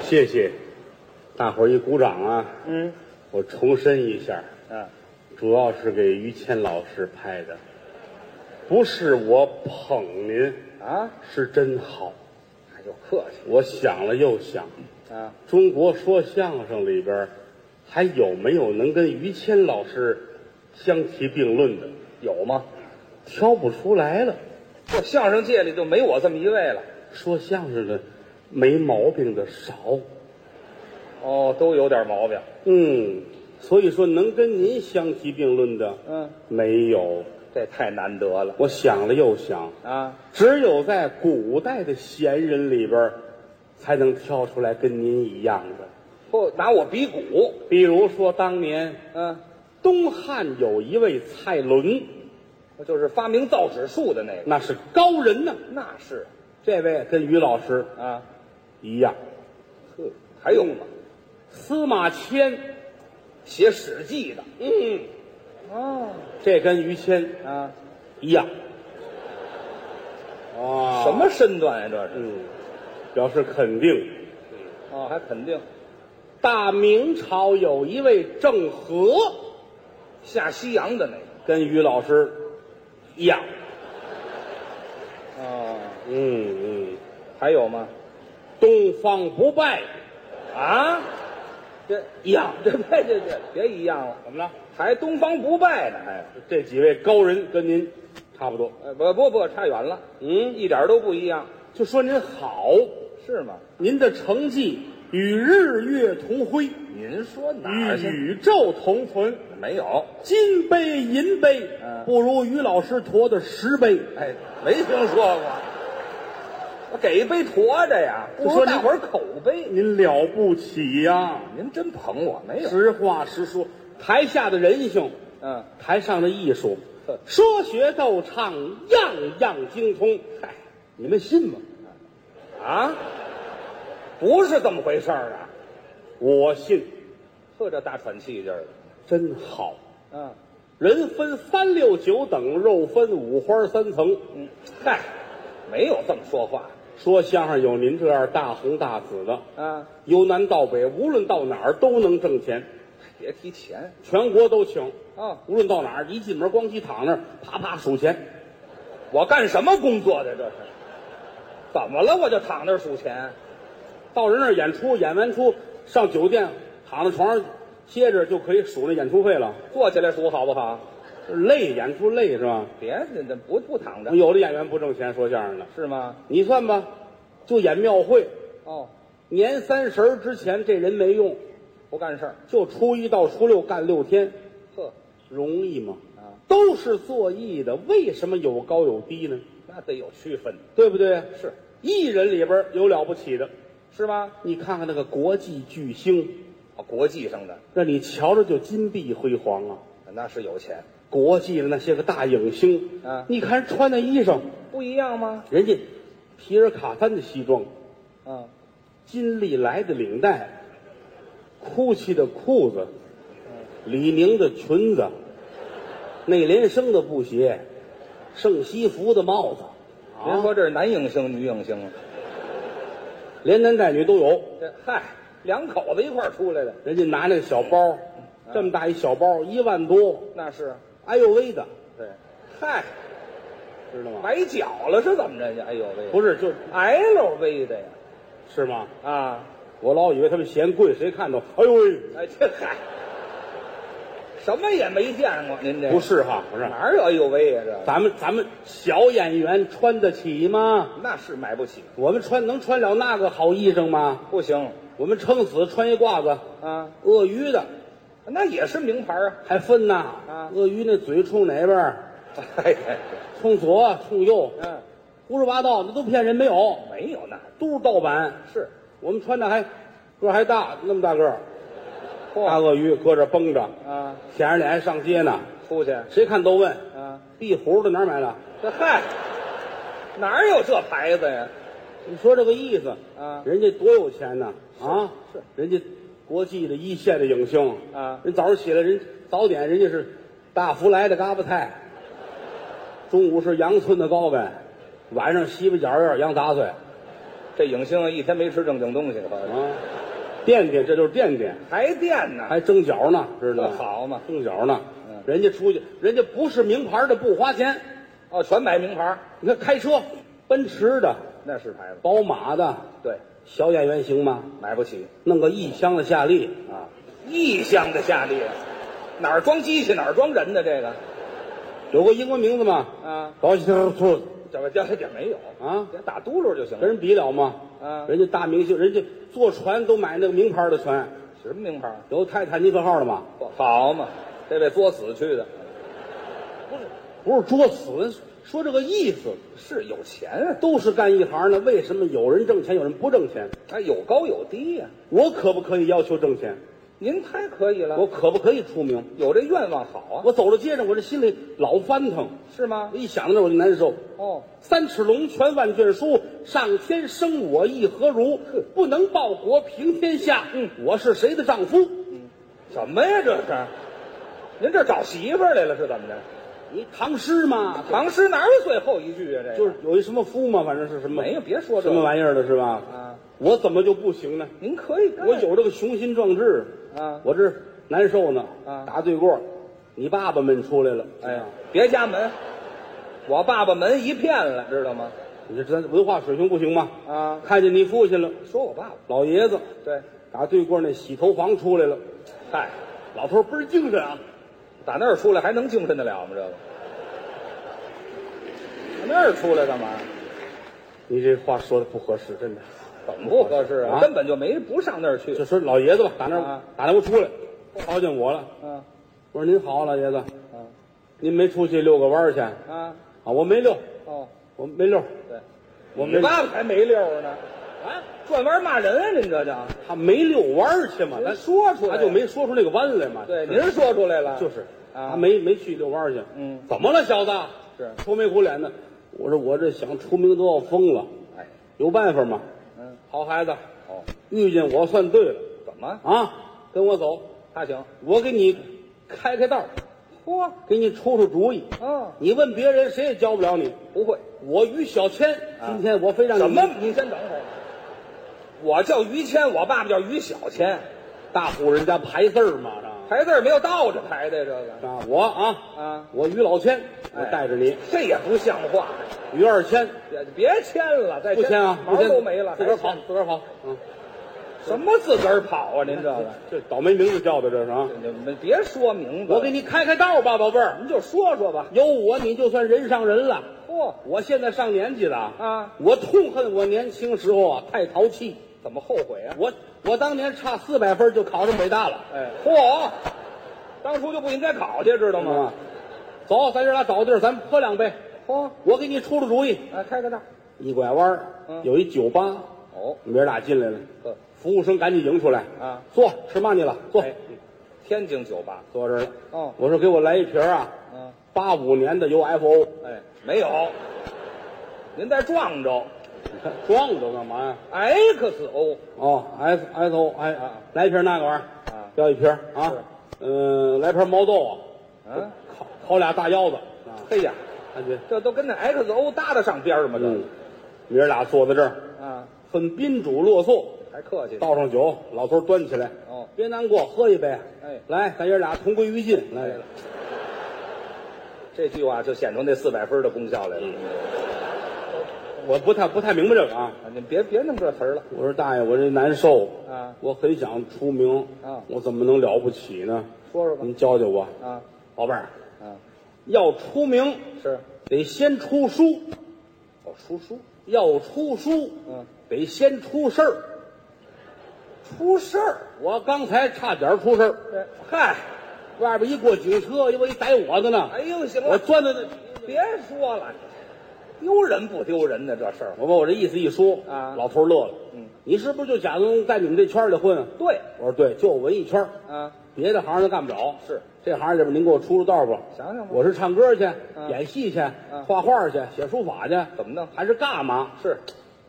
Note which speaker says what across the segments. Speaker 1: 谢谢大伙儿一鼓掌啊！
Speaker 2: 嗯
Speaker 1: 我重申一下，
Speaker 2: 啊，
Speaker 1: 主要是给于谦老师拍的，不是我捧您，
Speaker 2: 啊，
Speaker 1: 是真好。
Speaker 2: 那就客气
Speaker 1: 我想了又想，
Speaker 2: 啊。
Speaker 1: 中国说相声里边儿还有没有能跟于谦老师相提并论的？
Speaker 2: 有吗？
Speaker 1: 挑不出来了。
Speaker 2: 这相声界里就没我这么一位了。
Speaker 1: 说相声的没毛病的少，
Speaker 2: 哦，都有点毛病。
Speaker 1: 嗯，所以说能跟您相提并论的
Speaker 2: 嗯，
Speaker 1: 没有。
Speaker 2: 这太难得了
Speaker 1: 我想了又想，
Speaker 2: 啊！
Speaker 1: 只有在古代的贤人里边儿，才能挑出来跟您一样的。
Speaker 2: 哦，拿我比武。
Speaker 1: 比如说，当年呃
Speaker 2: 嗯、
Speaker 1: 东汉有一位蔡伦，
Speaker 2: 我就是发明造纸术的那个。
Speaker 1: 那是高人呢。
Speaker 2: 那是
Speaker 1: 这位跟于老师
Speaker 2: 啊，
Speaker 1: 一样，
Speaker 2: 呵，还有吗？
Speaker 1: 司马迁，
Speaker 2: 写《史记》的。
Speaker 1: 嗯，
Speaker 2: 哦
Speaker 1: 这跟于谦
Speaker 2: 啊，
Speaker 1: 一样。啊
Speaker 2: 什？么身段呀、这是？
Speaker 1: 嗯，表示肯定。
Speaker 2: 哦，还肯定
Speaker 1: 大明朝有一位郑和，
Speaker 2: 下西洋的那个。
Speaker 1: 跟于老师一样。
Speaker 2: 哦，
Speaker 1: 嗯嗯，
Speaker 2: 还有吗？
Speaker 1: 东方不败
Speaker 2: 啊，这
Speaker 1: 一样。
Speaker 2: 这别这这别一样了，
Speaker 1: 怎么了？
Speaker 2: 还东方不败呢，还、
Speaker 1: 这几位高人跟您差不多。
Speaker 2: 呃，不不不，差远了，
Speaker 1: 嗯，
Speaker 2: 一点都不一样，
Speaker 1: 就说您好，
Speaker 2: 是吗？
Speaker 1: 您的成绩与日月同辉，
Speaker 2: 您说
Speaker 1: 与宇宙同存。
Speaker 2: 没有？
Speaker 1: 金杯银杯
Speaker 2: 嗯
Speaker 1: 不如于老师驮的十杯。
Speaker 2: 哎，没听说过。我给一杯驮着呀，不
Speaker 1: 就
Speaker 2: 如
Speaker 1: 说您
Speaker 2: 大伙儿口碑。
Speaker 1: 您了不起呀、
Speaker 2: 您真捧我没有？
Speaker 1: 实话实说，台下的人性，
Speaker 2: 嗯，
Speaker 1: 台上的艺术
Speaker 2: 呵，
Speaker 1: 说学逗唱样样精通。嗨，你们信吗？
Speaker 2: 啊，不是这么回事儿啊！
Speaker 1: 我信，
Speaker 2: 呵，这大喘气劲儿的，
Speaker 1: 真好。
Speaker 2: 嗯
Speaker 1: 人分三六九等，肉分五花三层。
Speaker 2: 嗯，嗨，没有这么说话
Speaker 1: 说相声有您这样大红大紫的，
Speaker 2: 啊！
Speaker 1: 由南到北，无论到哪儿都能挣钱，
Speaker 2: 别提钱
Speaker 1: 全国都请。
Speaker 2: 啊！
Speaker 1: 无论到哪儿，一进门光鸡躺那儿，啪啪数钱。
Speaker 2: 我干什么工作的这是？怎么了？我就躺那儿数钱。
Speaker 1: 到人那儿演出，演完出上酒店，躺在床上歇着就可以数那演出费了。
Speaker 2: 坐起来数好不好？
Speaker 1: 累，演出累是吧？
Speaker 2: 别，这这不不躺着
Speaker 1: 有的演员不挣钱说相声的，
Speaker 2: 是吗？
Speaker 1: 你算吧，就演庙会，
Speaker 2: 哦，
Speaker 1: 年三十儿之前这人没用，
Speaker 2: 不干事儿，
Speaker 1: 就初一到初六干六天，
Speaker 2: 呵
Speaker 1: 容易吗？
Speaker 2: 啊，
Speaker 1: 都是做艺的，为什么有高有低呢？
Speaker 2: 那得有区分，
Speaker 1: 对不对？
Speaker 2: 是
Speaker 1: 艺人里边儿有了不起的，
Speaker 2: 是吗？
Speaker 1: 你看看那个国际巨星，
Speaker 2: 啊，国际上的
Speaker 1: 那你瞧着就金碧辉煌啊！
Speaker 2: 那是有钱，
Speaker 1: 国际的那些个大影星，
Speaker 2: 啊
Speaker 1: 你看人穿的衣裳，
Speaker 2: 不一样吗？
Speaker 1: 人家皮尔卡丹的西装，
Speaker 2: 嗯，
Speaker 1: 金利来的领带，GUCCI 的裤子，李宁的裙子，内联升的布鞋，盛西服的帽子，
Speaker 2: 您
Speaker 1: 啊，
Speaker 2: 说这是男影星、女影星啊？
Speaker 1: 连男带女都有。
Speaker 2: 这嗨，两口子一块儿出来的，
Speaker 1: 人家拿那个小包，这么大一小包，一万多，
Speaker 2: 那是
Speaker 1: 哎呦喂的，
Speaker 2: 对，嗨，
Speaker 1: 知道吗？
Speaker 2: 崴脚了是怎么着呀？哎呦喂，
Speaker 1: 不是，就是
Speaker 2: ，LV 的呀？
Speaker 1: 是吗？
Speaker 2: 啊，
Speaker 1: 我老以为他们嫌贵，谁看到？哎呦喂，
Speaker 2: 哎这嗨，什么也没见过，您这
Speaker 1: 不是哈，不是，
Speaker 2: 哪儿有哎呦喂呀？这
Speaker 1: 咱们咱们小演员穿得起吗？
Speaker 2: 那是买不起，
Speaker 1: 我们穿能穿了那个好衣裳吗？
Speaker 2: 不行
Speaker 1: 我们撑死穿一褂子，
Speaker 2: 啊，
Speaker 1: 鳄鱼的
Speaker 2: 那也是名牌啊。
Speaker 1: 还分呐。
Speaker 2: 啊
Speaker 1: 鳄鱼那嘴冲哪边儿？
Speaker 2: 哎哎，
Speaker 1: 冲左，冲右，
Speaker 2: 嗯，
Speaker 1: 胡说八道，那都骗人，没有，
Speaker 2: 没有那
Speaker 1: 都是盗版。
Speaker 2: 是，
Speaker 1: 我们穿的还个儿还大，那么大个儿，大
Speaker 2: 嚯
Speaker 1: 鳄鱼搁这绷着，
Speaker 2: 啊，
Speaker 1: 舔着脸上街呢，
Speaker 2: 出去
Speaker 1: 谁看都问
Speaker 2: 啊，
Speaker 1: 壁虎的哪儿买的？
Speaker 2: 这嗨，哪儿有这牌子呀？
Speaker 1: 你说这个意思
Speaker 2: 啊
Speaker 1: 人家多有钱呢啊！
Speaker 2: 是
Speaker 1: 人家国际的一线的影星
Speaker 2: 啊
Speaker 1: 人早上起来人早点人家是大福来的嘎巴菜，中午是洋葱的高跟，晚上西北角儿有点羊杂碎，
Speaker 2: 这影星一天没吃正经东西了，好像
Speaker 1: 啊，垫垫，这就是垫垫，
Speaker 2: 还垫呢，
Speaker 1: 还蒸饺呢，知道
Speaker 2: 这
Speaker 1: 吗？
Speaker 2: 好嘛？
Speaker 1: 蒸饺呢
Speaker 2: 啊嗯，
Speaker 1: 人家出去，人家不是名牌的不花钱，
Speaker 2: 哦，全买名牌儿，
Speaker 1: 你看开车，奔驰的、
Speaker 2: 那是牌子，
Speaker 1: 宝马的，
Speaker 2: 对，
Speaker 1: 小演员行吗？
Speaker 2: 买不起
Speaker 1: 弄个一箱子夏利，
Speaker 2: 啊，异乡的下地，哪儿装机器哪儿装人的这个
Speaker 1: 有个英文名字吗？
Speaker 2: 啊，
Speaker 1: 保险兔
Speaker 2: 这不这这点没有
Speaker 1: 啊，
Speaker 2: 这打嘟噜就行
Speaker 1: 跟
Speaker 2: 了
Speaker 1: 人比了吗？
Speaker 2: 啊，
Speaker 1: 人家大明星，人家坐船都买那个名牌的船，
Speaker 2: 什么名牌儿？
Speaker 1: 有泰坦尼克号的吗？
Speaker 2: 好嘛，这为作死去的，
Speaker 1: 不是作死，说这个意思，
Speaker 2: 是有钱，
Speaker 1: 都是干一行的，为什么有人挣钱，有人不挣钱？
Speaker 2: 啊，有高有低呀、
Speaker 1: 我可不可以要求挣钱？
Speaker 2: 您太可以了，
Speaker 1: 我可不可以出名？
Speaker 2: 有这愿望好啊，
Speaker 1: 我走到街上，我这心里老翻腾，
Speaker 2: 是吗？
Speaker 1: 一想到这我就难受。
Speaker 2: 哦，
Speaker 1: 三尺龙泉万卷书，上天生我亦何如？不能报国平天下。嗯，我是谁的丈夫？
Speaker 2: 什么呀这是？您这找媳妇儿来了是怎么的？
Speaker 1: 你唐诗嘛，
Speaker 2: 唐诗哪有最后一句啊？这个
Speaker 1: 就是有一什么夫嘛，反正是什么
Speaker 2: 没有，别说这
Speaker 1: 什么玩意儿的是吧？
Speaker 2: 意啊！
Speaker 1: 我怎么就不行呢？
Speaker 2: 您可以干，
Speaker 1: 我有这个雄心壮志，
Speaker 2: 啊！
Speaker 1: 我这难受呢。
Speaker 2: 啊
Speaker 1: 打对过，你爸爸们出来了。
Speaker 2: 哎呀，，别家门，我爸爸门一片了，知道吗？
Speaker 1: 你这咱文化水平不行吗？
Speaker 2: 啊，
Speaker 1: 看见你父亲了，
Speaker 2: 说我爸爸
Speaker 1: 老爷子
Speaker 2: 对，
Speaker 1: 打对过那洗头房出来了，
Speaker 2: 嗨，
Speaker 1: 老头儿倍儿精神啊！
Speaker 2: 打那儿出来还能精神得了吗？这个，打那儿出来干嘛？
Speaker 1: 你这话说的不合适，真的。
Speaker 2: 怎么不合适啊？
Speaker 1: 啊
Speaker 2: 根本就没不上那儿去。
Speaker 1: 就说老爷子吧，打那
Speaker 2: 啊
Speaker 1: 儿打那屋出来，瞧见我了。
Speaker 2: 啊
Speaker 1: 我说您好，老爷子，
Speaker 2: 啊
Speaker 1: 您没出去遛个弯儿去啊？
Speaker 2: 啊！
Speaker 1: 我没遛，
Speaker 2: 哦，
Speaker 1: 我没遛，
Speaker 2: 对，
Speaker 1: 我没
Speaker 2: 你
Speaker 1: 遛。
Speaker 2: 爸爸才没溜儿呢，啊，转弯骂人啊！您这叫，
Speaker 1: 他没遛弯儿去嘛，
Speaker 2: 您
Speaker 1: 他
Speaker 2: 说出来
Speaker 1: 他就没说出那个弯来嘛。
Speaker 2: 对，
Speaker 1: 是
Speaker 2: 您说出来了，
Speaker 1: 就是
Speaker 2: 啊
Speaker 1: 他没没去遛弯儿去。
Speaker 2: 嗯
Speaker 1: 怎么了，小子？
Speaker 2: 是
Speaker 1: 愁眉苦脸的。我说我这想出名都要疯了，
Speaker 2: 哎，
Speaker 1: 有办法吗？
Speaker 2: 嗯，
Speaker 1: 好孩子，
Speaker 2: 哦，
Speaker 1: 遇见我算对了
Speaker 2: 怎么
Speaker 1: 啊！跟我走，
Speaker 2: 他行？
Speaker 1: 我给你开开道儿，
Speaker 2: 嚯，
Speaker 1: 给你出出主意。
Speaker 2: 啊，
Speaker 1: 你问别人谁也教不了你。
Speaker 2: 不会，
Speaker 1: 我于小谦，
Speaker 2: 啊
Speaker 1: 今天我非让你
Speaker 2: 什么？你先等会儿，我叫于谦，我爸爸叫于小谦，
Speaker 1: 大户人家排字儿嘛？是吧
Speaker 2: 排字儿没有倒着排的这个
Speaker 1: 啊，我啊，
Speaker 2: 啊，
Speaker 1: 我于老谦，我
Speaker 2: 哎
Speaker 1: 带着你，
Speaker 2: 这也不像话，
Speaker 1: 于二谦
Speaker 2: 别别签了，再
Speaker 1: 不签啊，
Speaker 2: 毛
Speaker 1: 不签
Speaker 2: 都没了，
Speaker 1: 自个儿
Speaker 2: 还
Speaker 1: 跑
Speaker 2: 签，
Speaker 1: 自个儿跑。嗯，
Speaker 2: 什么自个儿跑啊？您这个，
Speaker 1: 这倒霉名字叫的这是啊！
Speaker 2: 你们别说明白，
Speaker 1: 我给
Speaker 2: 你，
Speaker 1: 你开开道吧，宝贝儿，
Speaker 2: 您就说说吧。
Speaker 1: 有我你就算人上人了。
Speaker 2: 嚯、
Speaker 1: 我现在上年纪了
Speaker 2: 啊，
Speaker 1: 我痛恨我年轻时候啊太淘气，
Speaker 2: 怎么后悔啊？
Speaker 1: 我我当年差四百分就考上北大了。
Speaker 2: 哎，嚯，当初就不应该考去，知道吗？
Speaker 1: 啊，走，咱爷俩找地儿，咱们喝两杯。
Speaker 2: 嚯，
Speaker 1: 我给你出出主意。
Speaker 2: 哎，哦开个道。
Speaker 1: 一拐弯儿
Speaker 2: 嗯
Speaker 1: 有一酒吧，
Speaker 2: 哦，
Speaker 1: 我们爷俩进来了，
Speaker 2: 呵，
Speaker 1: 服务生赶紧迎出来。
Speaker 2: 啊，
Speaker 1: 坐，吃嘛去了？坐，
Speaker 2: 哎天津酒吧。
Speaker 1: 坐这儿了。
Speaker 2: 哦，
Speaker 1: 我说给我来一瓶儿啊，
Speaker 2: 嗯，
Speaker 1: 八五年的 UFO。
Speaker 2: 哎，没有，您再撞着
Speaker 1: 你看撞着干嘛呀？
Speaker 2: XO
Speaker 1: 哦，S S O，哎，
Speaker 2: 啊
Speaker 1: 来一瓶那个玩意儿
Speaker 2: 啊，
Speaker 1: 要一瓶儿啊
Speaker 2: 是。
Speaker 1: 嗯，来瓶毛豆啊，
Speaker 2: 啊，
Speaker 1: 烤烤俩大腰子啊，
Speaker 2: 嘿哎呀，
Speaker 1: 感觉。
Speaker 2: 这都跟那 XO 搭得上边儿吗？
Speaker 1: 嗯
Speaker 2: 这、，
Speaker 1: 爷俩坐在这儿，
Speaker 2: 啊，
Speaker 1: 分宾主落座，
Speaker 2: 还客气。
Speaker 1: 倒上酒，老头儿端起来。
Speaker 2: 哦，
Speaker 1: 别难过，喝一杯。
Speaker 2: 哎
Speaker 1: 来，咱爷俩同归于尽。来，
Speaker 2: 这句话就显出那四百分的功效来了。
Speaker 1: 我不太不太明白这个啊。
Speaker 2: 啊，您别别弄这词儿了
Speaker 1: 我说大爷，我这难受，
Speaker 2: 啊，
Speaker 1: 我很想出名
Speaker 2: 啊
Speaker 1: 我怎么能了不起呢？
Speaker 2: 说说吧。
Speaker 1: 您教教我，
Speaker 2: 啊
Speaker 1: 宝贝儿，
Speaker 2: 啊，
Speaker 1: 要出名
Speaker 2: 是，
Speaker 1: 得先出书，
Speaker 2: 哦，出书，
Speaker 1: 要出书
Speaker 2: 嗯，
Speaker 1: 得先出事儿。
Speaker 2: 出事儿。
Speaker 1: 我刚才差点出事儿，
Speaker 2: 对嗨，
Speaker 1: 外边一过警车，又一逮我的呢，
Speaker 2: 哎呦，行
Speaker 1: 我
Speaker 2: 了，
Speaker 1: 钻到那。
Speaker 2: 别说了，丢人不丢人呢？这事儿，
Speaker 1: 我把我这意思一说
Speaker 2: 啊
Speaker 1: 老头儿乐了。
Speaker 2: 嗯，
Speaker 1: 你是不是就假装在你们这圈儿里混啊？
Speaker 2: 对，
Speaker 1: 我说对，就文艺圈儿，
Speaker 2: 啊，
Speaker 1: 别的行都干不了。
Speaker 2: 是
Speaker 1: 这行里边，您给我出出道吧。
Speaker 2: 想想吧嗯
Speaker 1: 我是唱歌去、演戏去、画画去、写书法去，
Speaker 2: 怎么弄？
Speaker 1: 还是干嘛？
Speaker 2: 是，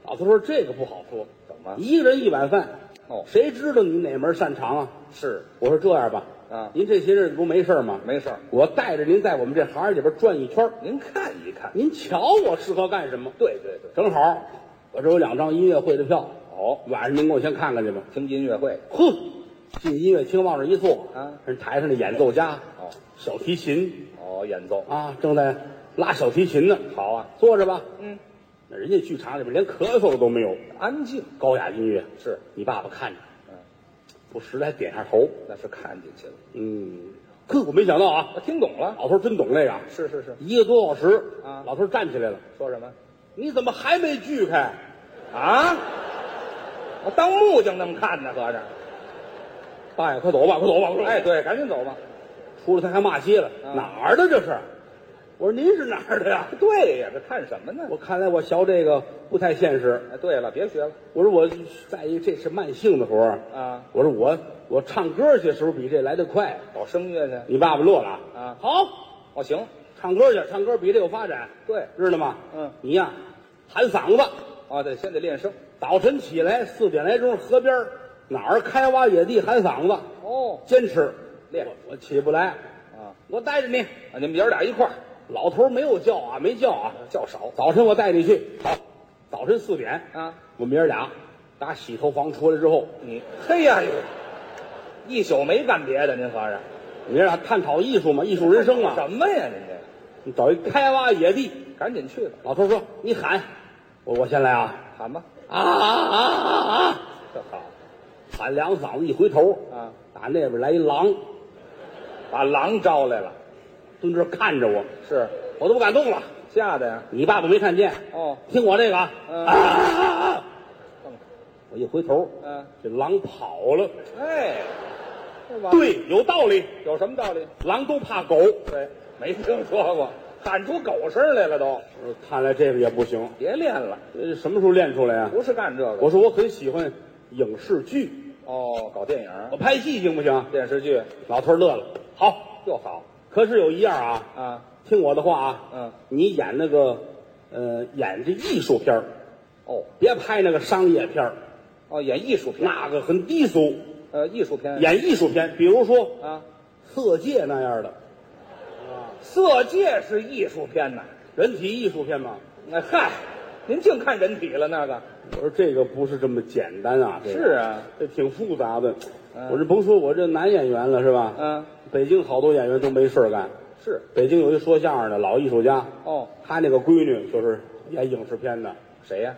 Speaker 1: 老头啊说这个不好说，
Speaker 2: 怎么
Speaker 1: 一个人一碗饭，
Speaker 2: 啊哦
Speaker 1: 谁知道你哪门擅长啊？
Speaker 2: 是
Speaker 1: 我说这样吧，
Speaker 2: 啊
Speaker 1: 您这些日子不没事儿吗？
Speaker 2: 没事儿，
Speaker 1: 我带着您在我们这行里边转一圈儿，
Speaker 2: 您看一看。
Speaker 1: 您瞧我适合干什么？
Speaker 2: 对对对，
Speaker 1: 正好我这有两张音乐会的票，
Speaker 2: 哦，
Speaker 1: 晚上您给我先看看去吧。
Speaker 2: 听音乐会
Speaker 1: 哼，进音乐厅往那一坐
Speaker 2: 啊
Speaker 1: 人台上的演奏家，
Speaker 2: 哦
Speaker 1: 小提琴
Speaker 2: 哦，演奏
Speaker 1: 啊，正在拉小提琴呢。
Speaker 2: 好啊，
Speaker 1: 坐着吧，
Speaker 2: 嗯，
Speaker 1: 那人家剧场里边连咳嗽的都没有，
Speaker 2: 安静
Speaker 1: 高雅音乐。
Speaker 2: 是，
Speaker 1: 你爸爸看着
Speaker 2: 嗯，
Speaker 1: 不时的还点下头。
Speaker 2: 那是看进去了，
Speaker 1: 嗯，呵，我没想到啊，
Speaker 2: 我听懂了，
Speaker 1: 老头真懂这个。
Speaker 2: 是是是，
Speaker 1: 一个多小时
Speaker 2: 啊
Speaker 1: 老头站起来了，
Speaker 2: 说什么
Speaker 1: 你怎么还没锯开？
Speaker 2: 啊？我当木匠那么看呢，合着，
Speaker 1: 大爷，快走吧，快走吧，快走吧！
Speaker 2: 哎，，对，赶紧走吧，
Speaker 1: 出来他还骂街了，
Speaker 2: 啊
Speaker 1: 哪儿的这是？我说您是哪儿的呀？
Speaker 2: 对呀，这看什么呢？
Speaker 1: 我看来我学这个不太现实。
Speaker 2: 哎，对了，别学了
Speaker 1: 我说我在意这是慢性的活儿。
Speaker 2: 啊，
Speaker 1: 我说我我唱歌去时候比这来得快。
Speaker 2: 搞声乐去，
Speaker 1: 你爸爸乐了
Speaker 2: 啊
Speaker 1: 好，
Speaker 2: 哦，行，
Speaker 1: 唱歌去，唱歌比这有发展，
Speaker 2: 对，
Speaker 1: 知道吗？
Speaker 2: 嗯
Speaker 1: 你呀，喊嗓子，
Speaker 2: 啊，对，先得练声，
Speaker 1: 早晨起来四点来钟，河边儿哪儿开挖野地喊嗓子，
Speaker 2: 哦，
Speaker 1: 坚持
Speaker 2: 练
Speaker 1: 我我起不来，
Speaker 2: 啊，
Speaker 1: 我带着你。
Speaker 2: 啊，你们爷儿俩一块儿，
Speaker 1: 老头儿没有叫啊，没叫啊，
Speaker 2: 较少
Speaker 1: 早晨我带你去，好，早晨四点，
Speaker 2: 啊，
Speaker 1: 我们爷儿俩打洗头房出来之后，
Speaker 2: 你嘿呀，一宿没干别的，您合着
Speaker 1: 我们爷儿俩探讨艺术嘛，艺术人生啊嘛，
Speaker 2: 什么呀？您这
Speaker 1: 你找一开挖野地，
Speaker 2: 赶紧去吧，
Speaker 1: 老头儿说你喊，我我先来啊，
Speaker 2: 喊吧，
Speaker 1: 啊啊啊啊啊！
Speaker 2: 这好
Speaker 1: 喊两嗓子，一回头，
Speaker 2: 啊，
Speaker 1: 打那边来一狼，
Speaker 2: 把狼招来了，
Speaker 1: 蹲这儿看着我，
Speaker 2: 是
Speaker 1: 我都不敢动了。
Speaker 2: 吓得呀，
Speaker 1: 你爸爸没看见，
Speaker 2: 哦，
Speaker 1: 听我这个啊！
Speaker 2: 嗯
Speaker 1: 啊啊啊啊
Speaker 2: 这么
Speaker 1: 我一回头，
Speaker 2: 嗯，
Speaker 1: 这狼跑了。
Speaker 2: 哎，这玩意
Speaker 1: 对，有道理，
Speaker 2: 儿有什么道理？
Speaker 1: 狼都怕狗。
Speaker 2: 对，没听说过，喊出狗声来了都，
Speaker 1: 呃看来这个也不行，
Speaker 2: 别练了，
Speaker 1: 呃，什么时候练出来啊？
Speaker 2: 不是干这个，
Speaker 1: 我说我很喜欢影视剧，
Speaker 2: 哦，搞电影
Speaker 1: 我。拍戏行不行？
Speaker 2: 电视剧
Speaker 1: 老头儿乐了，好。
Speaker 2: 又好
Speaker 1: 可是有一样啊，
Speaker 2: 啊，
Speaker 1: 听我的话啊，
Speaker 2: 嗯，
Speaker 1: 你演那个，呃，演这艺术片儿，
Speaker 2: 哦
Speaker 1: 别拍那个商业片儿，
Speaker 2: 哦，演艺术片，
Speaker 1: 那个很低俗。
Speaker 2: 呃，艺术片
Speaker 1: 演艺术片，比如说《
Speaker 2: 啊，
Speaker 1: 色戒》那样的
Speaker 2: 色戒是艺术片呐。
Speaker 1: 人体艺术片嘛。
Speaker 2: 那嗨，您净看人体了那个？
Speaker 1: 我说这个不是这么简单啊，这个
Speaker 2: 是啊，
Speaker 1: 这挺复杂的。
Speaker 2: 嗯
Speaker 1: 我这甭说我这男演员了是吧？
Speaker 2: 嗯，
Speaker 1: 北京好多演员都没事儿干。
Speaker 2: 是
Speaker 1: 北京有一说相声的老艺术家，
Speaker 2: 哦，
Speaker 1: 他那个闺女就是演影视片的。
Speaker 2: 谁呀、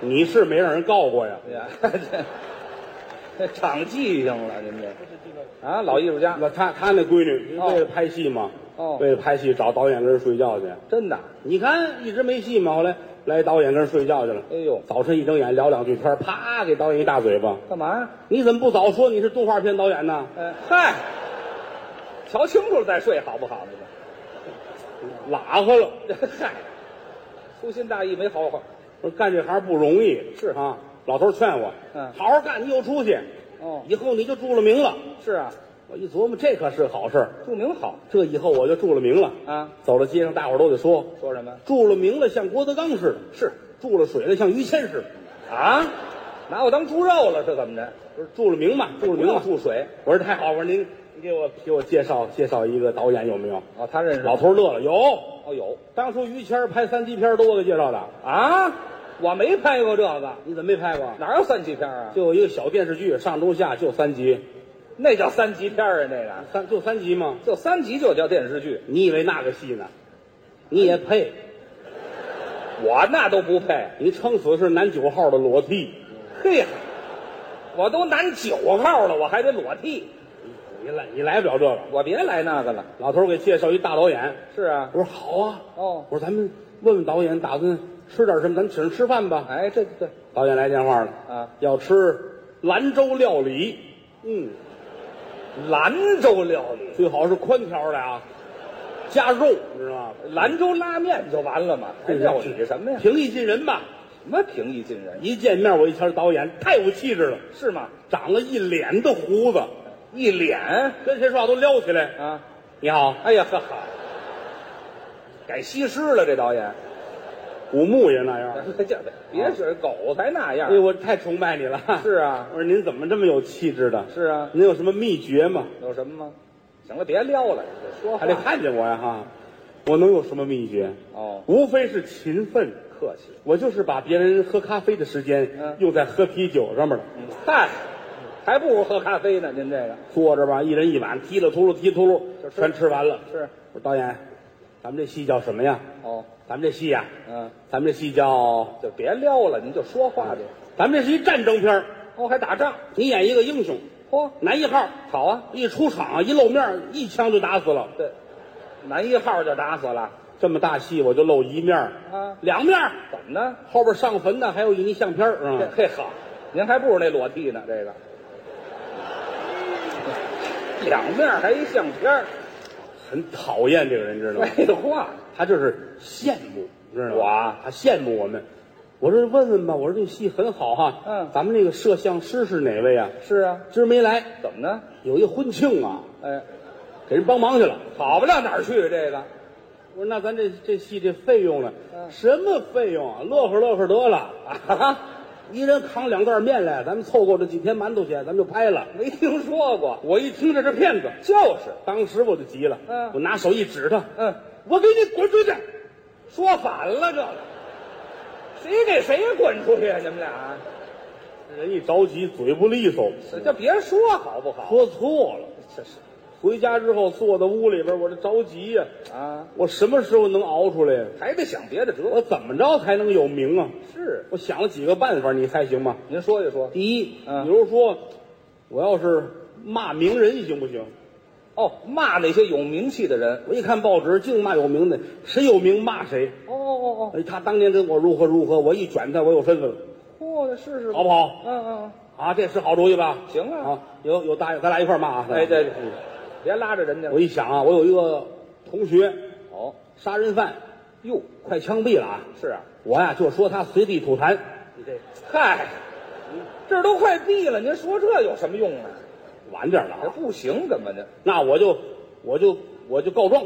Speaker 1: 你是没让人告过呀？
Speaker 2: 哎呀， 这这长记性了，您这啊，老艺术家
Speaker 1: 那他他那闺女
Speaker 2: 哦
Speaker 1: 为了拍戏嘛，
Speaker 2: 哦
Speaker 1: 为了拍戏找导演跟人睡觉去。
Speaker 2: 真的，
Speaker 1: 你看一直没戏嘛，后来来导演跟人睡觉去了。
Speaker 2: 哎呦，
Speaker 1: 早晨一睁眼聊两句天儿，啪给导演一大嘴巴。
Speaker 2: 干嘛呀？
Speaker 1: 你怎么不早说你是动画片导演呢？
Speaker 2: 哎嗨，瞧清楚了再睡好不好？你们
Speaker 1: 拉和了，
Speaker 2: 这 嗨，粗心大意没好好
Speaker 1: 我说干这行不容易，
Speaker 2: 是
Speaker 1: 啊。老头劝我，
Speaker 2: 嗯
Speaker 1: 好好干，你有出息，
Speaker 2: 哦，
Speaker 1: 以后你就注了名了。
Speaker 2: 是啊，
Speaker 1: 我一琢磨，这可是好事儿，
Speaker 2: 著名好
Speaker 1: 这以后我就注了名了。
Speaker 2: 啊，
Speaker 1: 走到街上，大伙儿都得说，
Speaker 2: 说什么？
Speaker 1: 注了名了像郭德纲似的，
Speaker 2: 是
Speaker 1: 注了水了像于谦似的。
Speaker 2: 啊，拿我当猪肉了是怎么着？
Speaker 1: 我说注了名嘛，注了名
Speaker 2: 不
Speaker 1: 嘛
Speaker 2: 用。注水
Speaker 1: 我说太好，我说您您给我给我介绍介绍一个导演有没有？
Speaker 2: 哦，他认识
Speaker 1: 老头儿乐了，有。
Speaker 2: 哦有
Speaker 1: 当初于谦儿拍三级片儿都我给介绍的，
Speaker 2: 啊，我没拍过这个。
Speaker 1: 你怎么没拍过？
Speaker 2: 哪有三级片啊？
Speaker 1: 就有一个小电视剧，上中下就三集，
Speaker 2: 那叫三级片啊，那个
Speaker 1: 三就三集吗？
Speaker 2: 就三级就叫电视剧，
Speaker 1: 你以为那个戏呢？你也配？
Speaker 2: 我那都不配。
Speaker 1: 你撑死是男九号的裸替，
Speaker 2: 嘿呀，我都男九号了，我还得裸替，
Speaker 1: 你来你来不了这个。
Speaker 2: 我别来那个了。
Speaker 1: 老头儿给介绍一大导演，
Speaker 2: 是啊
Speaker 1: 我，说好啊，
Speaker 2: 哦
Speaker 1: 我，说咱们问问导演，打算吃点什么？咱们请人吃饭吧。
Speaker 2: 哎，这这
Speaker 1: 导演来电话了，
Speaker 2: 啊，
Speaker 1: 要吃兰州料理，嗯，
Speaker 2: 兰州料理，
Speaker 1: 最好是宽条的啊，加肉，你知道吗？
Speaker 2: 兰州拉面就完了嘛，还料理什么呀？
Speaker 1: 平易近人吧。
Speaker 2: 什么平易近人
Speaker 1: 一见面我一瞧，导演太有气质了。
Speaker 2: 是吗？
Speaker 1: 长了一脸的胡子，
Speaker 2: 一脸
Speaker 1: 跟谁说话都撩起来。
Speaker 2: 啊，
Speaker 1: 你好，
Speaker 2: 哎呀呵呵，改西施了这导演，
Speaker 1: 古墓也那样。
Speaker 2: 这别学狗才那样
Speaker 1: 啊哎呦，。我太崇拜你了。
Speaker 2: 啊是啊
Speaker 1: 我，说您怎么这么有气质的？
Speaker 2: 是啊，
Speaker 1: 您有什么秘诀吗？
Speaker 2: 有什么吗？行了，别撩了，说
Speaker 1: 还
Speaker 2: 还
Speaker 1: 得
Speaker 2: 得
Speaker 1: 看见我呀哈。我能有什么秘诀？
Speaker 2: 哦
Speaker 1: 无非是勤奋。
Speaker 2: 客气。
Speaker 1: 我就是把别人喝咖啡的时间
Speaker 2: 嗯
Speaker 1: 用在喝啤酒上面了。
Speaker 2: 嗨，还不如喝咖啡呢。您这个
Speaker 1: 坐着吧，一人一碗，提了秃噜，提秃噜，
Speaker 2: 就吃
Speaker 1: 全吃完了。
Speaker 2: 是
Speaker 1: 我说导演，咱们这戏叫什么呀？
Speaker 2: 哦，
Speaker 1: 咱们这戏呀、
Speaker 2: 嗯，
Speaker 1: 咱们这戏叫，
Speaker 2: 就别撩了，您就说话去。
Speaker 1: 咱们这是一战争片儿
Speaker 2: 哦，还打仗，
Speaker 1: 你演一个英雄，
Speaker 2: 嚯、
Speaker 1: 男一号，
Speaker 2: 好啊。
Speaker 1: 一出场一露面，一枪就打死了。
Speaker 2: 对，男一号就打死了。
Speaker 1: 这么大戏我就露一面儿
Speaker 2: 啊
Speaker 1: 两面儿
Speaker 2: 怎么呢？
Speaker 1: 后边上坟的还有一泥相片儿
Speaker 2: 这
Speaker 1: 啊。
Speaker 2: 嘿好，您还不如那裸替呢。这个两面还一相片儿，
Speaker 1: 很讨厌这个人，知道吗？
Speaker 2: 废话。
Speaker 1: 他就是羡慕，知道吗？
Speaker 2: 我啊
Speaker 1: 他羡慕我们。我说问问吧，我说这戏很好哈，
Speaker 2: 嗯
Speaker 1: 咱们这个摄像师是哪位啊？
Speaker 2: 是啊，
Speaker 1: 今儿没来，
Speaker 2: 怎么呢？
Speaker 1: 有一婚庆啊，
Speaker 2: 哎，
Speaker 1: 给人帮忙去了。
Speaker 2: 好不到哪儿去。这个
Speaker 1: 我说那咱这这戏这费用呢？
Speaker 2: 嗯
Speaker 1: 什么费用啊？乐呵乐呵得了 啊！一人扛两袋面来，咱们凑够这几天馒头钱，咱们就拍了。
Speaker 2: 没听说过，
Speaker 1: 我一听这是骗子，
Speaker 2: 就是，
Speaker 1: 当时我就急了，
Speaker 2: 嗯
Speaker 1: 我拿手一指他，
Speaker 2: 嗯，
Speaker 1: 我给你滚出去！
Speaker 2: 说反了这个，谁给谁滚出去啊？你们俩，
Speaker 1: 人一着急，嘴不利索，
Speaker 2: 这就别说好不好？
Speaker 1: 说错了。
Speaker 2: 这是
Speaker 1: 回家之后坐在屋里边，我这着急呀、
Speaker 2: 啊，
Speaker 1: 我什么时候能熬出来呀？
Speaker 2: 还得想别的辙。
Speaker 1: 我怎么着才能有名啊？
Speaker 2: 是，
Speaker 1: 我想了几个办法，你猜行吗？
Speaker 2: 您说一说。
Speaker 1: 第一，
Speaker 2: 嗯
Speaker 1: 比如说，我要是骂名人行不行？
Speaker 2: 哦，骂那些有名气的人。
Speaker 1: 我一看报纸，净骂有名的，谁有名骂谁。
Speaker 2: 哦哦哦，
Speaker 1: 哎，他当年跟我如何如何，我一卷他，我有身份了，
Speaker 2: 嚯，这试试吧
Speaker 1: 好不好？
Speaker 2: 嗯嗯
Speaker 1: 啊，这是好主意吧？
Speaker 2: 行啊
Speaker 1: 啊，有有大爷，咱俩一块儿骂啊！
Speaker 2: 嗯，哎，对对，别拉着人家。
Speaker 1: 我一想啊，我有一个同学
Speaker 2: 哦，
Speaker 1: 杀人犯，
Speaker 2: 哟，
Speaker 1: 快枪毙了啊！
Speaker 2: 是啊，
Speaker 1: 我呀就说他随地吐痰，
Speaker 2: 你这，嗨，这都快毙了，您说这有什么用啊？
Speaker 1: 晚点了
Speaker 2: 这
Speaker 1: 啊，
Speaker 2: 不行，根本就
Speaker 1: 那我就我就我就告状，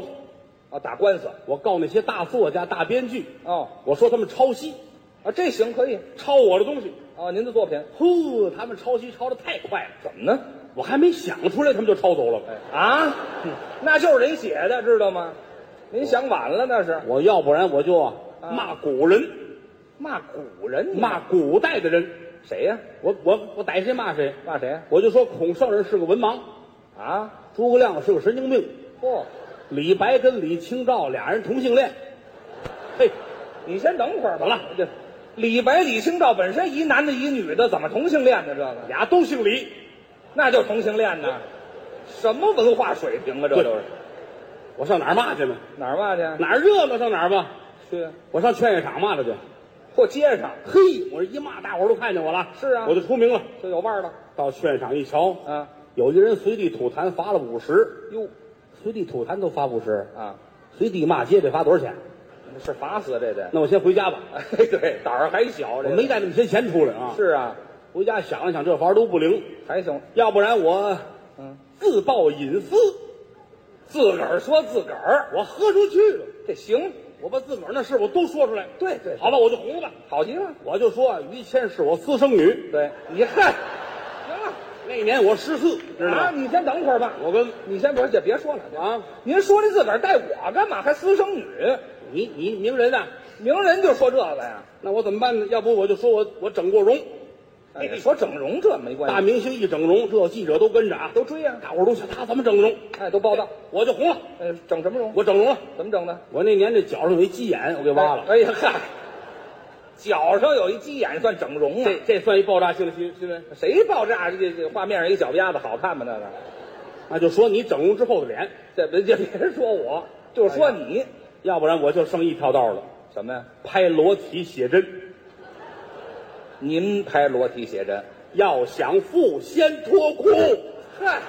Speaker 2: 啊打官司。
Speaker 1: 我告那些大作家、大编剧，
Speaker 2: 哦，
Speaker 1: 我说他们抄袭，
Speaker 2: 啊，这行可以。
Speaker 1: 抄我的东西，
Speaker 2: 哦，您的作品
Speaker 1: 呼，他们抄袭抄的太快了，
Speaker 2: 怎么呢？
Speaker 1: 我还没想出来，他们就抄走了。
Speaker 2: 哎啊， 那就是人写的，知道吗？您想晚了，那是
Speaker 1: 我要不然我就啊
Speaker 2: 啊
Speaker 1: 骂古人，
Speaker 2: 骂古人，你
Speaker 1: 骂古代的人，
Speaker 2: 谁呀、
Speaker 1: 我我我逮谁骂谁，
Speaker 2: 骂谁呀
Speaker 1: 我就说孔圣人是个文盲，
Speaker 2: 啊？
Speaker 1: 诸葛亮是个神经病，
Speaker 2: 嚯、
Speaker 1: 李白跟李清照俩人同性恋，嘿，
Speaker 2: 你先等会儿吧。
Speaker 1: 怎么了
Speaker 2: 这李白、李清照本身一男的，一女的，怎么同性恋呢？这个
Speaker 1: 俩都姓李。
Speaker 2: 那就同性恋呢？什么文化水平啊？这都是
Speaker 1: 我上哪儿骂去呢？
Speaker 2: 哪儿骂去？
Speaker 1: 哪儿热闹上哪儿吧。
Speaker 2: 去
Speaker 1: 我上劝业场骂他去。
Speaker 2: 或街上
Speaker 1: 嘿，我这一骂，大伙儿都看见我了。
Speaker 2: 是啊
Speaker 1: 我就出名了。
Speaker 2: 就有腕儿了
Speaker 1: 到劝业场一瞧，
Speaker 2: 啊！
Speaker 1: 有一人随地吐痰，罚了五十。
Speaker 2: 哟
Speaker 1: 随地吐痰都罚五十，
Speaker 2: 啊，
Speaker 1: 随地骂街得罚多少钱？
Speaker 2: 是罚死啊这得。
Speaker 1: 那我先回家吧。
Speaker 2: 哎，对，胆儿还小，
Speaker 1: 我
Speaker 2: 这个
Speaker 1: 没带那么些钱出来啊。
Speaker 2: 是啊，
Speaker 1: 回家想了想，这法儿都不灵，
Speaker 2: 还行，
Speaker 1: 要不然我
Speaker 2: 嗯，
Speaker 1: 自曝隐私，
Speaker 2: 自个儿说自个儿，
Speaker 1: 我喝出去了，
Speaker 2: 这行，
Speaker 1: 我把自个儿那事儿我都说出来。
Speaker 2: 对对
Speaker 1: 好吧，我就红了。
Speaker 2: 好极了。
Speaker 1: 我就说啊于谦是我私生女。
Speaker 2: 对你 嗨，行了，
Speaker 1: 那年我十四，知道
Speaker 2: 啊，
Speaker 1: 吗？
Speaker 2: 你先等会儿吧，
Speaker 1: 我跟
Speaker 2: 你先别别说了
Speaker 1: 啊，
Speaker 2: 您说这自个儿带我干嘛？还私生女，
Speaker 1: 你你名人啊，
Speaker 2: 名人就说这个呀？
Speaker 1: 那我怎么办呢？要不我就说我我整过容，
Speaker 2: 哎，你说整容这没
Speaker 1: 大
Speaker 2: 关系，
Speaker 1: 明星一整容，这记者都跟着啊，
Speaker 2: 都追呀、
Speaker 1: 大伙儿都想他怎么整容，
Speaker 2: 哎，都报道。
Speaker 1: 我就红了，
Speaker 2: 哎，整什么容？
Speaker 1: 我整容了。
Speaker 2: 怎么整的？
Speaker 1: 我那年这脚上有一鸡眼，我给挖了，
Speaker 2: 哎呀嗨，脚上有一鸡眼算整容啊？
Speaker 1: 这这算一爆炸性的新新闻。
Speaker 2: 谁爆炸？这这画面上一脚丫子好看吗？那个，
Speaker 1: 那就说你整容之后的脸，
Speaker 2: 这别这别说我，就
Speaker 1: 哎
Speaker 2: 说你、
Speaker 1: 要不然我就剩一条道了，
Speaker 2: 什么呀？
Speaker 1: 拍裸体写真。
Speaker 2: 您拍裸体写真？
Speaker 1: 要想富，先脱裤。
Speaker 2: 嗯嗨，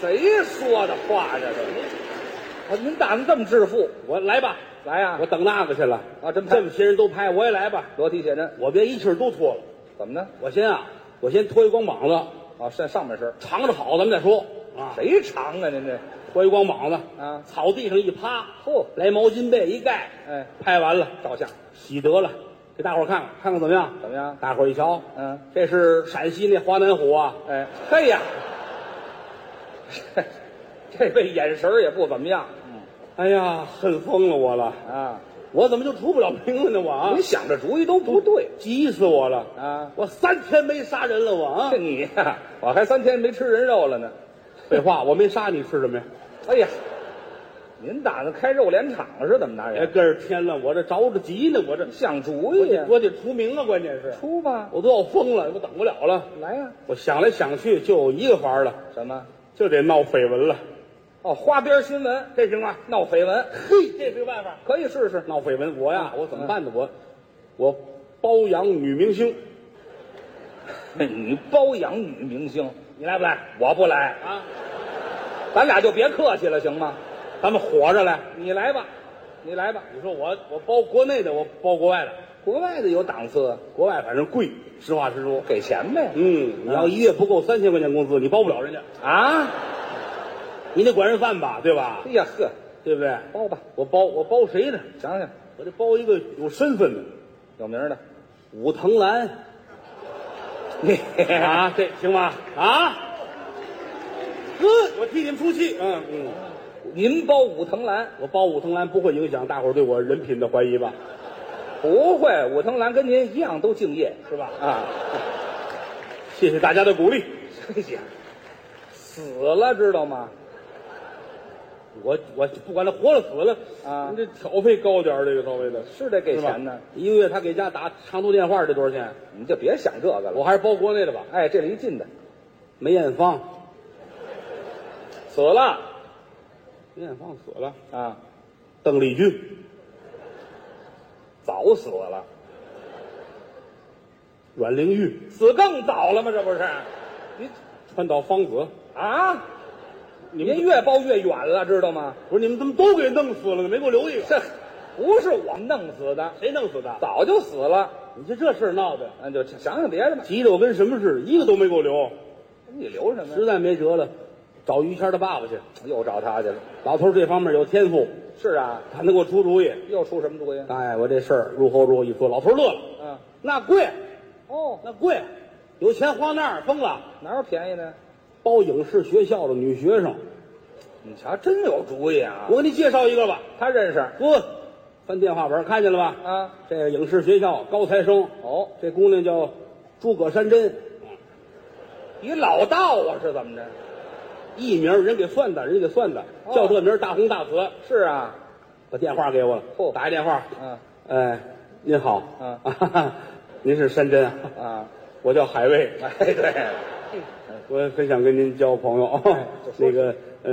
Speaker 2: 谁说的话这都？啊，您打算这么致富？
Speaker 1: 我来吧，
Speaker 2: 来呀、
Speaker 1: 我等那个去了
Speaker 2: 啊真拍
Speaker 1: 这么些人都拍，我也来吧。
Speaker 2: 裸体写真
Speaker 1: 我别一气儿都脱了。
Speaker 2: 怎么呢？
Speaker 1: 我先啊，我先脱一光膀子，
Speaker 2: 啊，上上半身，
Speaker 1: 尝着好咱们再说啊。
Speaker 2: 谁长啊？您这，
Speaker 1: 脱一光膀子
Speaker 2: 啊
Speaker 1: 草地上一趴，
Speaker 2: 嚯
Speaker 1: 来毛巾被一盖，
Speaker 2: 哎，
Speaker 1: 拍完了，
Speaker 2: 照相
Speaker 1: 洗得了，给大伙儿看看，看看怎么样？
Speaker 2: 怎么样？
Speaker 1: 大伙儿一瞧，
Speaker 2: 嗯，
Speaker 1: 这是陕西那华南虎啊，
Speaker 2: 哎， 嘿呀，这这位眼神儿也不怎么样，
Speaker 1: 哎呀，恨疯了我了！
Speaker 2: 啊，
Speaker 1: 我怎么就出不了名了呢？我啊
Speaker 2: 你，想这主意都不对
Speaker 1: 急死我了！
Speaker 2: 啊！
Speaker 1: 我三天没杀人了，我啊
Speaker 2: 这！你呀、我还三天没吃人肉了呢。
Speaker 1: 废话，我没杀你吃什么呀？
Speaker 2: 哎呀，您打算开肉联厂是怎么拿
Speaker 1: 别
Speaker 2: 人？
Speaker 1: 跟着哎天了，我这着着急呢，我这
Speaker 2: 想主
Speaker 1: 哎我
Speaker 2: 意
Speaker 1: 得
Speaker 2: 呀，
Speaker 1: 我得出名啊！关键是，
Speaker 2: 出吧，
Speaker 1: 我都要疯了，我等不了了。
Speaker 2: 来呀、
Speaker 1: 我想来想去，就有一个法儿了，
Speaker 2: 什么？
Speaker 1: 就得闹绯闻了，
Speaker 2: 哦，花边新闻，
Speaker 1: 这行吗？
Speaker 2: 闹绯闻，
Speaker 1: 嘿，这是个办法。
Speaker 2: 可以试试。
Speaker 1: 闹绯闻，我呀，我怎么办呢？我，我包养女明星，
Speaker 2: 你包养女明星，
Speaker 1: 你来不来
Speaker 2: 我不来，
Speaker 1: 啊？
Speaker 2: 咱俩就别客气了，行吗？
Speaker 1: 咱们火着来。
Speaker 2: 你来吧，你来吧。
Speaker 1: 你说我我包国内的，我包国外的，
Speaker 2: 国外的有档次，啊
Speaker 1: 国外反正贵，实话实说。
Speaker 2: 给钱呗。
Speaker 1: 嗯，你要一月不够三千块钱工资，你包不了人家，
Speaker 2: 啊，
Speaker 1: 你得管人饭吧，对吧
Speaker 2: 哎？呀呵，
Speaker 1: 对不对？
Speaker 2: 包吧，
Speaker 1: 我包我包谁呢？
Speaker 2: 想想
Speaker 1: 我得包一个有身份的，
Speaker 2: 有名的，
Speaker 1: 武藤兰
Speaker 2: 你
Speaker 1: 啊，这行吗？啊，呵，我替你们出气。嗯嗯，
Speaker 2: 您包武藤兰
Speaker 1: 我包武藤兰不会影响大伙儿对我人品的怀疑吧？
Speaker 2: 不会，武藤兰跟您一样都敬业
Speaker 1: 是吧？
Speaker 2: 啊。
Speaker 1: 谢谢大家的鼓励。
Speaker 2: 哎呀，死了知道吗？
Speaker 1: 我我不管他活了死了
Speaker 2: 啊
Speaker 1: 您这挑费高点儿，这个稍微的
Speaker 2: 是得给钱
Speaker 1: 呢
Speaker 2: 呢，。
Speaker 1: 一个月他给家打长途电话，这多少钱？
Speaker 2: 你就别想这个了。
Speaker 1: 我还是包国内的吧。
Speaker 2: 哎，这离近的
Speaker 1: 梅艳芳，
Speaker 2: 死了
Speaker 1: 梅艳芳死了。
Speaker 2: 啊，
Speaker 1: 邓丽君、
Speaker 2: 早死了，
Speaker 1: 阮玲玉、
Speaker 2: 死更早了吗？这不是？你
Speaker 1: 川岛芳子，
Speaker 2: 啊，
Speaker 1: 你们
Speaker 2: 您越包越远了，知道吗？
Speaker 1: 不是你们怎么都给弄死了呢？没给我留一个，
Speaker 2: 这不是我弄死的，
Speaker 1: 谁弄死的？
Speaker 2: 早就死了。
Speaker 1: 你这这事儿闹的，
Speaker 2: 那就想想别的吧。
Speaker 1: 急得我跟什么似的，一个都没给我留，
Speaker 2: 你留什么
Speaker 1: 实
Speaker 2: 呀？
Speaker 1: 在没辙了，找于谦儿他爸爸去。
Speaker 2: 又找他去了。
Speaker 1: 老头儿这方面有天赋，
Speaker 2: 是啊，
Speaker 1: 他能给我出主意。
Speaker 2: 又出什么主意？啊
Speaker 1: 大爷，我这事儿入后入后一说，老头儿乐了。
Speaker 2: 嗯，
Speaker 1: 那贵，
Speaker 2: 哦，
Speaker 1: 那贵，有钱花那儿，疯了。
Speaker 2: 哪有便宜的？
Speaker 1: 包影视学校的女学生，
Speaker 2: 你瞧，真有主意啊！
Speaker 1: 我给你介绍一个吧。
Speaker 2: 他认识
Speaker 1: 不，翻电话本看见了吧？
Speaker 2: 啊。
Speaker 1: 这个影视学校高材生，
Speaker 2: 哦，
Speaker 1: 这姑娘叫诸葛山珍，
Speaker 2: 你老道啊，是怎么着？
Speaker 1: 艺名人给算的，人给算的，
Speaker 2: 哦
Speaker 1: 叫这名儿大红大紫。
Speaker 2: 是啊，
Speaker 1: 把电话给我了，
Speaker 2: 嚯
Speaker 1: 打一电话，
Speaker 2: 嗯
Speaker 1: 哎，您好，
Speaker 2: 嗯
Speaker 1: 啊， 您是山珍啊，
Speaker 2: 啊，
Speaker 1: 我叫海卫，
Speaker 2: 哎对，哎
Speaker 1: 我很想跟您交朋友
Speaker 2: 就。说
Speaker 1: 那个，呃，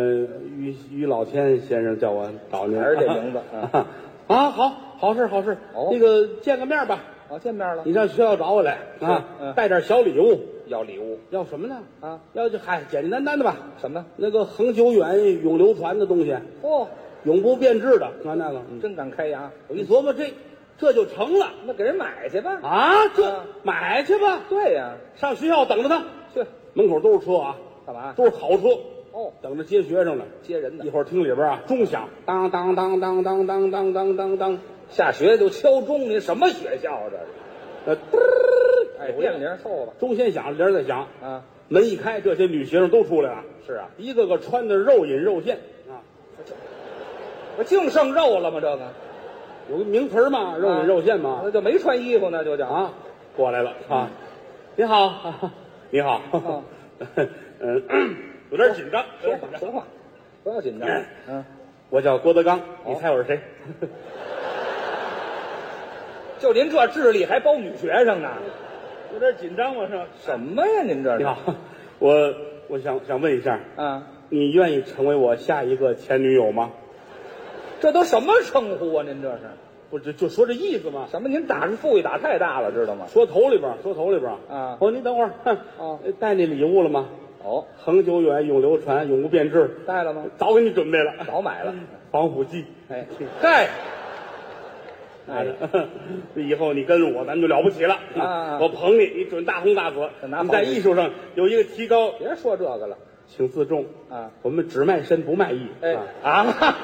Speaker 1: 于于老天先生叫我找您，
Speaker 2: 还是这名字
Speaker 1: 啊。 啊，好，好事，好事。
Speaker 2: 哦
Speaker 1: 那个见个面吧，
Speaker 2: 哦，见面了
Speaker 1: 你，上学校找我来啊，
Speaker 2: 嗯
Speaker 1: 带点小礼物。
Speaker 2: 要礼物
Speaker 1: 要什么呢？
Speaker 2: 啊？
Speaker 1: 要就嗨，简简单单的吧。
Speaker 2: 什么？
Speaker 1: 那个恒久远、永流传的东西，
Speaker 2: 哦，
Speaker 1: 永不变质的啊，那个。嗯
Speaker 2: 真敢开牙，
Speaker 1: 我一琢磨，这这就成了
Speaker 2: 那给人买去吧。
Speaker 1: 啊！这
Speaker 2: 嗯
Speaker 1: 买去吧，
Speaker 2: 对呀，
Speaker 1: 上学校等着他，
Speaker 2: 去
Speaker 1: 门口都是车啊，
Speaker 2: 干嘛？
Speaker 1: 都是好车，
Speaker 2: 哦，
Speaker 1: 等着接学生呢。
Speaker 2: 接人呢
Speaker 1: 一。会儿听里边啊，钟响，当当当当当当当当当当，
Speaker 2: 下学就敲钟，您什么学校啊这是？
Speaker 1: 呃，嘚儿
Speaker 2: 哎，电铃凑合吧。
Speaker 1: 钟先响，铃儿再响，
Speaker 2: 啊，
Speaker 1: 门一开，这些女学生都出来了，
Speaker 2: 是啊，
Speaker 1: 一个个穿的肉隐肉现啊，
Speaker 2: 我净剩肉了吗？这个
Speaker 1: 有个名词儿嘛，肉
Speaker 2: 啊
Speaker 1: 隐肉现嘛
Speaker 2: 那就没穿衣服呢，就叫
Speaker 1: 啊，过来了啊，你好， 你好，
Speaker 2: 啊
Speaker 1: 嗯，有点紧张，有
Speaker 2: 说
Speaker 1: 点紧
Speaker 2: 话
Speaker 1: 张，
Speaker 2: 说话，不要紧张。嗯，
Speaker 1: 我叫郭德纲，你
Speaker 2: 哦
Speaker 1: 猜我是谁？
Speaker 2: 就您这智力还包女学生呢？
Speaker 1: 有点紧张我是。
Speaker 2: 什么呀？您这
Speaker 1: 你
Speaker 2: 是？
Speaker 1: 好， 我我想想问一下，
Speaker 2: 啊。
Speaker 1: 你愿意成为我下一个前女友吗？
Speaker 2: 这都什么称呼啊？您这是
Speaker 1: 不就就说这意思嘛。
Speaker 2: 什么？您打是富裕打太大了，知道吗？
Speaker 1: 说头里边儿，说头里边儿
Speaker 2: 啊
Speaker 1: 哦，您等会儿， 哼
Speaker 2: 哦
Speaker 1: 带那礼物了吗？
Speaker 2: 哦，嗯
Speaker 1: 恒久远，永流传，永不变质，
Speaker 2: 带了吗？
Speaker 1: 早给你准备了，
Speaker 2: 早买了。
Speaker 1: 防腐剂。
Speaker 2: 哎，嗨，哎
Speaker 1: 拿着， 以后你跟我，咱们就了不起了。
Speaker 2: 啊
Speaker 1: 我捧你，你准大红大紫
Speaker 2: 这。拿
Speaker 1: 你
Speaker 2: 防
Speaker 1: 在
Speaker 2: 腐剂
Speaker 1: 艺术上有一个提高，
Speaker 2: 别说这个了
Speaker 1: 请自重。
Speaker 2: 啊！
Speaker 1: 我们只卖身不卖艺。
Speaker 2: 哎
Speaker 1: 啊
Speaker 2: 啊，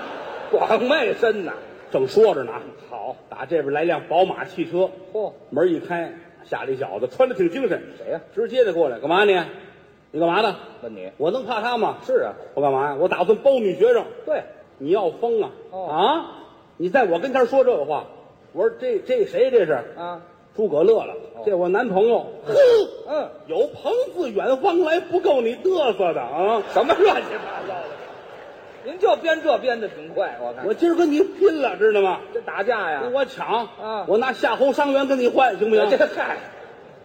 Speaker 2: 广卖身呐！
Speaker 1: 正说着呢啊，
Speaker 2: 好，
Speaker 1: 打这边来辆宝马汽车，
Speaker 2: 嚯，
Speaker 1: 门一开，下来一小子，穿的挺精神，
Speaker 2: 谁呀？
Speaker 1: 直接的过来，干嘛你？你干嘛的？
Speaker 2: 问你
Speaker 1: 我能怕他吗？
Speaker 2: 是啊，
Speaker 1: 我干嘛呀？我打算包女学生，
Speaker 2: 对，
Speaker 1: 你要疯啊、
Speaker 2: 哦
Speaker 1: 啊！你在我跟前说这话，我说这这谁这是？
Speaker 2: 啊，
Speaker 1: 诸葛乐了，
Speaker 2: 哦
Speaker 1: 这我男朋友。
Speaker 2: 嗯，
Speaker 1: 有朋自远方来，不够你嘚瑟的啊！
Speaker 2: 什么乱七八糟的？您就编这编的挺快，我看
Speaker 1: 我今儿跟你拼了，知道吗？
Speaker 2: 这打架呀，
Speaker 1: 我抢
Speaker 2: 啊
Speaker 1: 我拿夏侯伤员跟你换，行不行？
Speaker 2: 这嗨，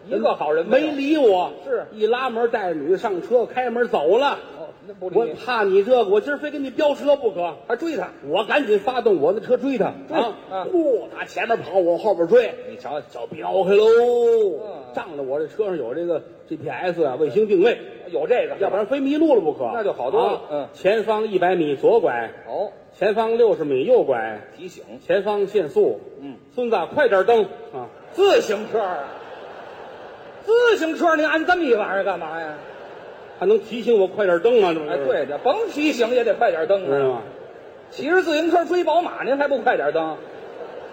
Speaker 2: 一个好人
Speaker 1: 没
Speaker 2: 有。
Speaker 1: 理我，
Speaker 2: 是
Speaker 1: 一拉门带着女的上车，开门走了。
Speaker 2: 哦，那不理
Speaker 1: 我
Speaker 2: 你，
Speaker 1: 怕你这个，我今儿非跟你飙车不可。
Speaker 2: 还追他。
Speaker 1: 我赶紧发动我的车追他
Speaker 2: 追啊
Speaker 1: 不，他前面跑，我后边追，
Speaker 2: 你瞧，
Speaker 1: 小飙开喽
Speaker 2: 嗯！
Speaker 1: 仗着我这车上有这个 GPS 啊，卫星定位，
Speaker 2: 有这个，
Speaker 1: 要不然非迷路了不可。
Speaker 2: 啊那就好多了
Speaker 1: 啊
Speaker 2: 嗯
Speaker 1: 前方一百米左拐，
Speaker 2: 哦，
Speaker 1: 前方六十米右拐，
Speaker 2: 提醒
Speaker 1: 前方限速。
Speaker 2: 嗯，
Speaker 1: 孙子，快点蹬啊！
Speaker 2: 自行车啊，自行车你按这么一玩意儿干嘛呀？
Speaker 1: 还能提醒我快点蹬吗？这不是
Speaker 2: 哎，，对的，甭提醒也得快点蹬
Speaker 1: 知道
Speaker 2: 啊！
Speaker 1: 吗？
Speaker 2: 骑着自行车追宝马，您还不快点蹬？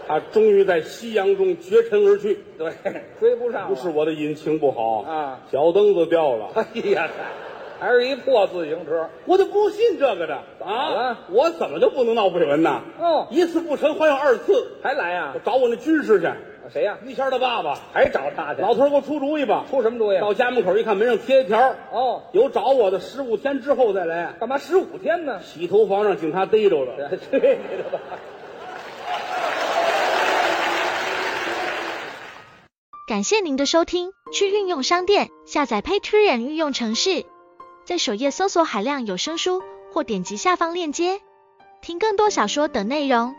Speaker 1: 他终于在夕阳中绝尘而去。
Speaker 2: 对，追不上了。
Speaker 1: 不是我的引擎不好
Speaker 2: 啊，
Speaker 1: 脚蹬子掉了。
Speaker 2: 哎呀，还是一破自行车。
Speaker 1: 我就不信这个的
Speaker 2: 啊
Speaker 1: 啊！我怎么就不能闹绯闻呢？
Speaker 2: 哦
Speaker 1: 一次不成还有二次，
Speaker 2: 还来呀
Speaker 1: 我、找我那军师去，
Speaker 2: 谁呀、
Speaker 1: 于谦他爸爸，
Speaker 2: 还找他去？
Speaker 1: 老头儿给我出主意吧。
Speaker 2: 出什么主意？啊
Speaker 1: 到家门口一看，门上贴一条，
Speaker 2: 哦，
Speaker 1: 有找我的，十五天之后再来。
Speaker 2: 干嘛十五天呢？
Speaker 1: 洗头房让警察逮着了，
Speaker 2: 对的吧？
Speaker 3: 感谢您的收听，去应用商店下载 Patreon 应用城市，在首页搜索海量有声书，或点击下方链接听更多小说等内容。